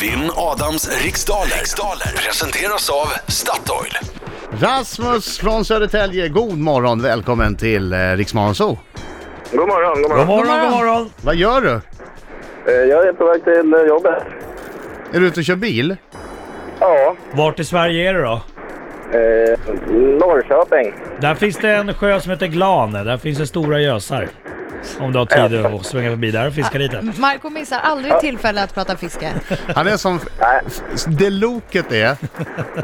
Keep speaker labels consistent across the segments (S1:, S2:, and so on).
S1: Vinn Adams riksdaler. riksdaler presenteras av Statoil.
S2: Rasmus från Södertälje, god morgon, välkommen till eh, Riksmorgon Zoo.
S3: God morgon, god
S4: God
S3: morgon.
S4: morgon, god morgon!
S2: Vad gör du?
S3: Eh, Jag är på väg till eh, jobbet.
S2: Är du ute och kör bil?
S3: Ja,
S4: Vart i Sverige är du då?
S3: eh, Norrköping.
S4: Där finns det en sjö som heter Glane. Där finns det stora gösar. Om du har tid att svänga förbi där och fiska lite.
S5: Marco missar aldrig tillfälle att prata fiske.
S2: Han är som...
S3: Nej,
S2: Det loket är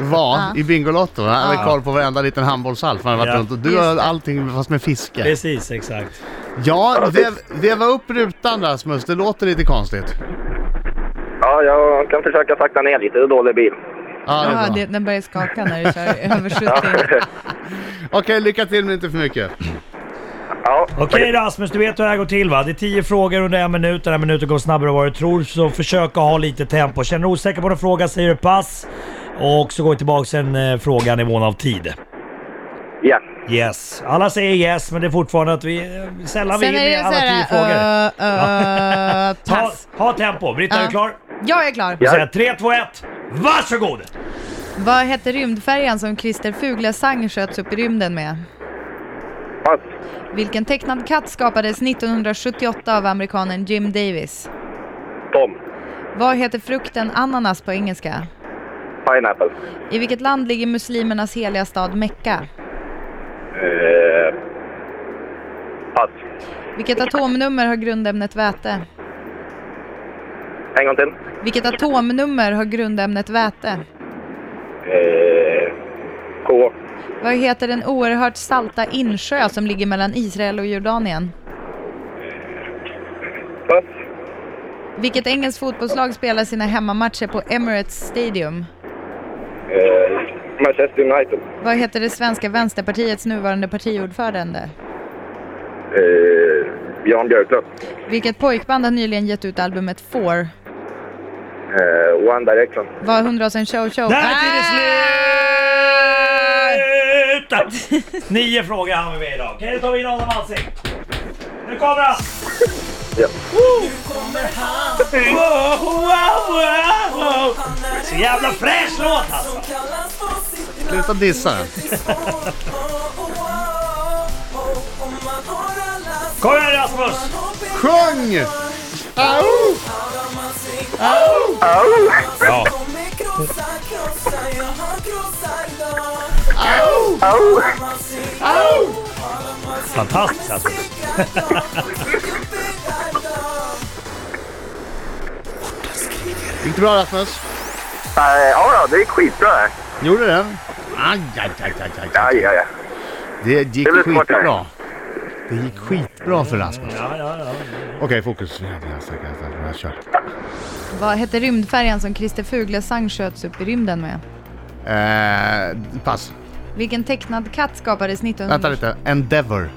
S2: var i Bingolotto. Han hade koll på varenda liten handbollshalt man hade varit
S4: Ja.
S2: runt. Och du har allting fast med fiske.
S4: Precis, exakt.
S2: Ja, vev, veva upp rutan Rasmus, det låter lite konstigt.
S3: ja, jag kan försöka sakta ner lite. Det är dålig bil.
S2: Ja, det
S5: Ja,
S2: är bra.
S5: det, den börjar skaka när du kör över 70.
S2: Okej, lycka till men inte för mycket.
S3: Ja,
S4: Okej Rasmus, du vet hur det här går till va? Det är tio frågor under en minut. Den här minuten går snabbare än vad du tror, så försök att ha lite tempo. Känner du osäker på någon fråga säger du pass. Och så går vi tillbaka till en eh, fråga nivån av tid.
S3: ja.
S4: Yes. Alla säger yes, men det är fortfarande att vi eh, sällan vi
S5: Sen är
S4: hinner
S5: det så
S4: alla tio frågor.
S5: här... Äh, äh,
S4: Ha,
S5: pass.
S4: ha tempo. Britta, är
S5: Ja.
S4: du klar?
S5: Jag är klar.
S4: Jag säger 3, 2, 1. Varsågod!
S5: Vad hette rymdfärjan som Christer Fuglesang sköts upp i rymden med?
S3: Pass.
S5: Vilken tecknad katt skapades 1978 av amerikanen Jim Davis?
S3: Tom.
S5: Vad heter frukten ananas på engelska?
S3: Pineapple.
S5: I vilket land ligger muslimernas heliga stad Mekka?
S3: Eh, pass.
S5: Vilket atomnummer har grundämnet väte?
S3: En gång till.
S5: Vilket atomnummer har grundämnet väte?
S3: Eh, K.
S5: Vad heter den oerhört salta insjö som ligger mellan Israel och Jordanien?
S3: Pass.
S5: Vilket engelskt fotbollslag spelar sina hemmamatcher på Emirates Stadium?
S3: Eh, Manchester United.
S5: Vad heter det svenska vänsterpartiets nuvarande partiordförande?
S3: Eh, Jan Björklund.
S5: Vilket pojkband har nyligen gett ut albumet Four?
S3: Eh, One Direction.
S5: Vad hundrasen show show?
S4: Där är tiden slut! Nio frågor hann vi med idag. Okej, då tar vi in Adam Alsing. Nu kommer han!
S3: Ja.
S4: Wow, wow, wow, wow. Så jävla fräsch låt alltså!
S2: Sluta dissa den.
S4: Kom igen Rasmus!
S2: Sjung! Au!
S4: Ja.
S2: Au! Au!
S4: Fantastiskt alltså. Rasmus.
S2: Gick det bra Rasmus?
S3: Eh, ja, då, det är skitbra. här.
S2: Gjorde den? Aj, aj, aj, aj, aj,
S3: Ja, ja, ja.
S2: Det gick
S3: Det blir svårt här.
S2: skitbra. Det gick skitbra för Rasmus.
S4: Ja, ja, ja.
S2: Okej, fokus. Jävlar, stackars, stackars, jag kör.
S5: Vad hette rymdfärjan som Christer Fuglesang sköts upp i rymden med?
S2: Eh, pass.
S5: Vilken tecknad katt skapades 1900...
S2: Vänta lite. Endeavor.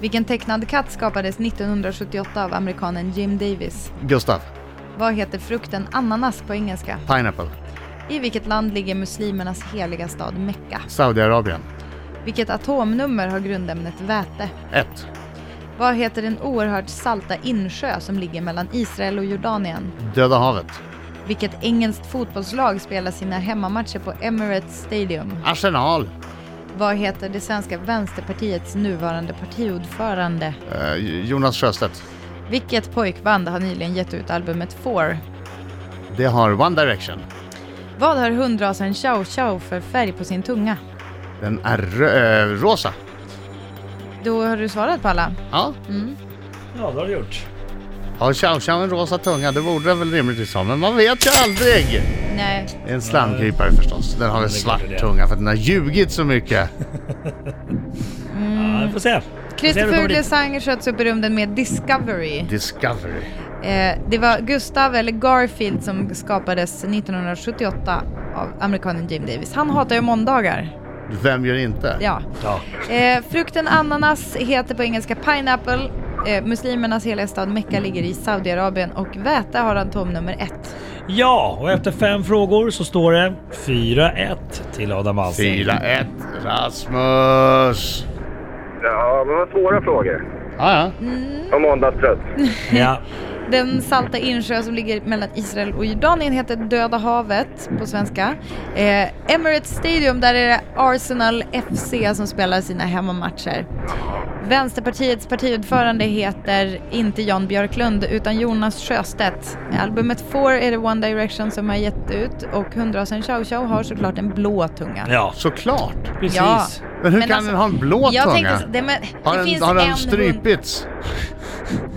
S5: Vilken tecknad katt skapades 1978 av amerikanen Jim Davis?
S2: Gustav.
S5: Vad heter frukten ananas på engelska?
S2: Pineapple.
S5: I vilket land ligger muslimernas heliga stad Mekka?
S2: Saudiarabien.
S5: Vilket atomnummer har grundämnet väte?
S2: 1.
S5: Vad heter den oerhört salta insjö som ligger mellan Israel och Jordanien?
S2: Döda havet.
S5: Vilket engelskt fotbollslag spelar sina hemmamatcher på Emirates Stadium?
S2: Arsenal.
S5: Vad heter det svenska vänsterpartiets nuvarande partiordförande?
S2: Eh, Jonas Sjöstedt.
S5: Vilket pojkband har nyligen gett ut albumet Four?
S2: Det har One Direction.
S5: Vad har hundrasen Chow Chow för färg på sin tunga?
S2: Den är rö- eh, rosa.
S5: Då har du svarat på alla.
S2: Ja.
S4: Mm. Ja, det har du gjort.
S2: Har Chow Chow en rosa tunga? Det borde den väl rimligtvis ha, men man vet ju aldrig.
S5: Nej,
S2: Det är En slamkrypare förstås. Den har väl
S4: det är klart det
S2: svart
S4: är.
S2: tunga för att den har ljugit så mycket.
S4: Ja, vi får se.
S5: Christer
S4: Ser du på ditt-
S5: Fuglesang sköts upp i rymden med Discovery.
S2: Discovery.
S5: Eh, det var Gustav, eller Garfield, som skapades 1978 av amerikanen Jim Davis. Han hatar ju måndagar.
S2: Vem gör inte?
S5: Ja.
S4: Ja.
S5: Eh, frukten ananas heter på engelska pineapple. Eh, muslimernas heliga stad Mekka ligger i Saudiarabien och väte har atomnummer ett.
S4: ja, och efter fem frågor så står det 4-1 till Adam Alsing.
S2: 4-1 Rasmus.
S3: Ja, men vad svåra frågor.
S5: Mm.
S2: Ah, ja.
S3: Och måndagstrött.
S4: Ja.
S5: Den salta insjö som ligger mellan Israel och Jordanien heter Döda havet på svenska. Eh, Emirates Stadium, där är det Arsenal FC som spelar sina hemmamatcher. Vänsterpartiets partiordförande heter inte Jan Björklund utan Jonas Sjöstedt. Albumet Four är det One Direction som har gett ut och hundrasen Chow Chow har såklart en blå tunga.
S4: Ja,
S2: Såklart!
S4: precis.
S5: Ja.
S2: Men hur
S5: Men
S2: kan
S5: alltså,
S2: den ha en blå
S5: Jag
S2: tunga?
S5: tänkte, så- det, men,
S2: har
S5: det
S2: den,
S5: finns
S2: har
S5: en
S2: den strypits?
S5: hund.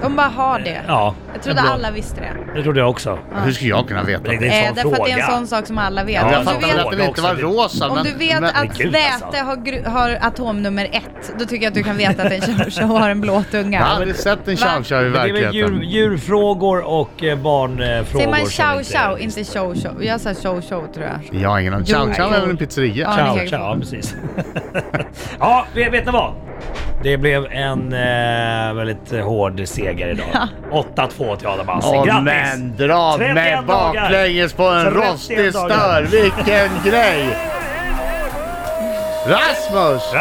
S5: De bara har det.
S4: Ja,
S5: Jag trodde
S2: en blå.
S5: alla visste det.
S4: det trodde jag också.
S2: Hur ska jag kunna veta?
S4: Det är en
S5: Eh,
S4: sån
S5: därför
S4: fråga.
S5: att det är en sån sak som alla vet.
S4: Ja,
S2: Jag
S5: om du
S2: fattar
S5: vet,
S2: väl att den inte
S4: också.
S2: var rosa,
S5: om
S2: men...
S5: du vet
S2: men,
S5: att
S4: gud, alltså.
S5: Väte har, gru- har atomnummer ett, då tycker jag att du kan veta att en tjourtjo har en blå tunga.
S2: jag har aldrig sett en
S5: Va?
S2: chow-chow i
S4: Men Det är väl djur,
S2: verkligheten.
S4: djurfrågor och eh, barnfrågor.
S5: Säger man
S4: som
S5: chow
S4: inte-
S5: chow, inte chow chow? Jag sa chow chow tror jag.
S2: Jag har ingen aning.
S5: Jo,
S2: Chow-chow
S5: jo.
S2: är väl en pizzeria?
S5: Ja.
S4: Ciao,
S5: det kan jag
S4: ciao, ja, precis. ja, vet, vet ni vad? Det blev en eh, väldigt eh, hård seger idag. 8-2 till Adam Alsing.
S2: Åh,
S4: Grattis!
S2: men dra
S4: 31
S2: med
S4: dagar.
S2: baklänges på en
S4: 31
S2: rostig
S4: dagar.
S2: stör. Vilken grej! Rasmus!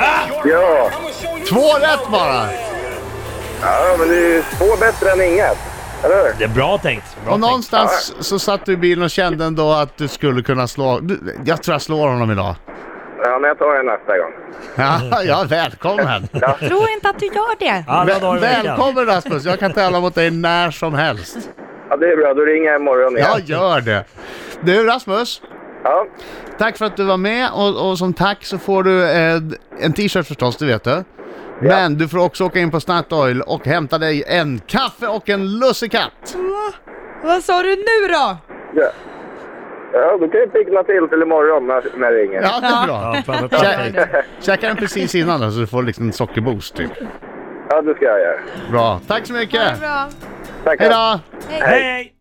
S3: Ja,
S2: Två rätt bara!
S3: ja men det är ju två bättre än inget. Eller hur?
S4: Det är bra tänkt. Bra
S2: Och
S4: tänkt.
S2: någonstans så satt du i bilen och kände ändå att du skulle kunna slå... Du, jag tror jag slår honom idag.
S3: Ja, men jag tar det nästa gång.
S2: Ja,
S4: Mm.
S2: ja välkommen!
S5: Tror inte att du gör det.
S4: Alla dagar i veckan.
S2: Välkommen Rasmus! Jag kan tävla mot dig när som helst.
S3: Ja, det är bra. Då ringer jag imorgon igen.
S2: Jag gör det! Du Rasmus,
S3: Ja,
S2: tack för att du var med och, och som tack så får du eh, en t-shirt förstås, det vet du. Men du får också åka in på Statoil och hämta dig en kaffe och en lussekatt.
S5: Vad sa du nu då?
S3: ja. ja då kan jag pickna till till imorgon när, när jag ringer.
S2: Ja, det är bra.
S4: Ja, fan, vad perfekt.
S2: Käka den precis innan då, så du får liksom en sockerboost typ.
S3: Ja, det ska jag göra.
S2: Bra, tack så
S5: Ha
S2: mycket!
S5: det bra.
S3: Tackar.
S2: Hej då!
S5: Hej.
S4: Hej!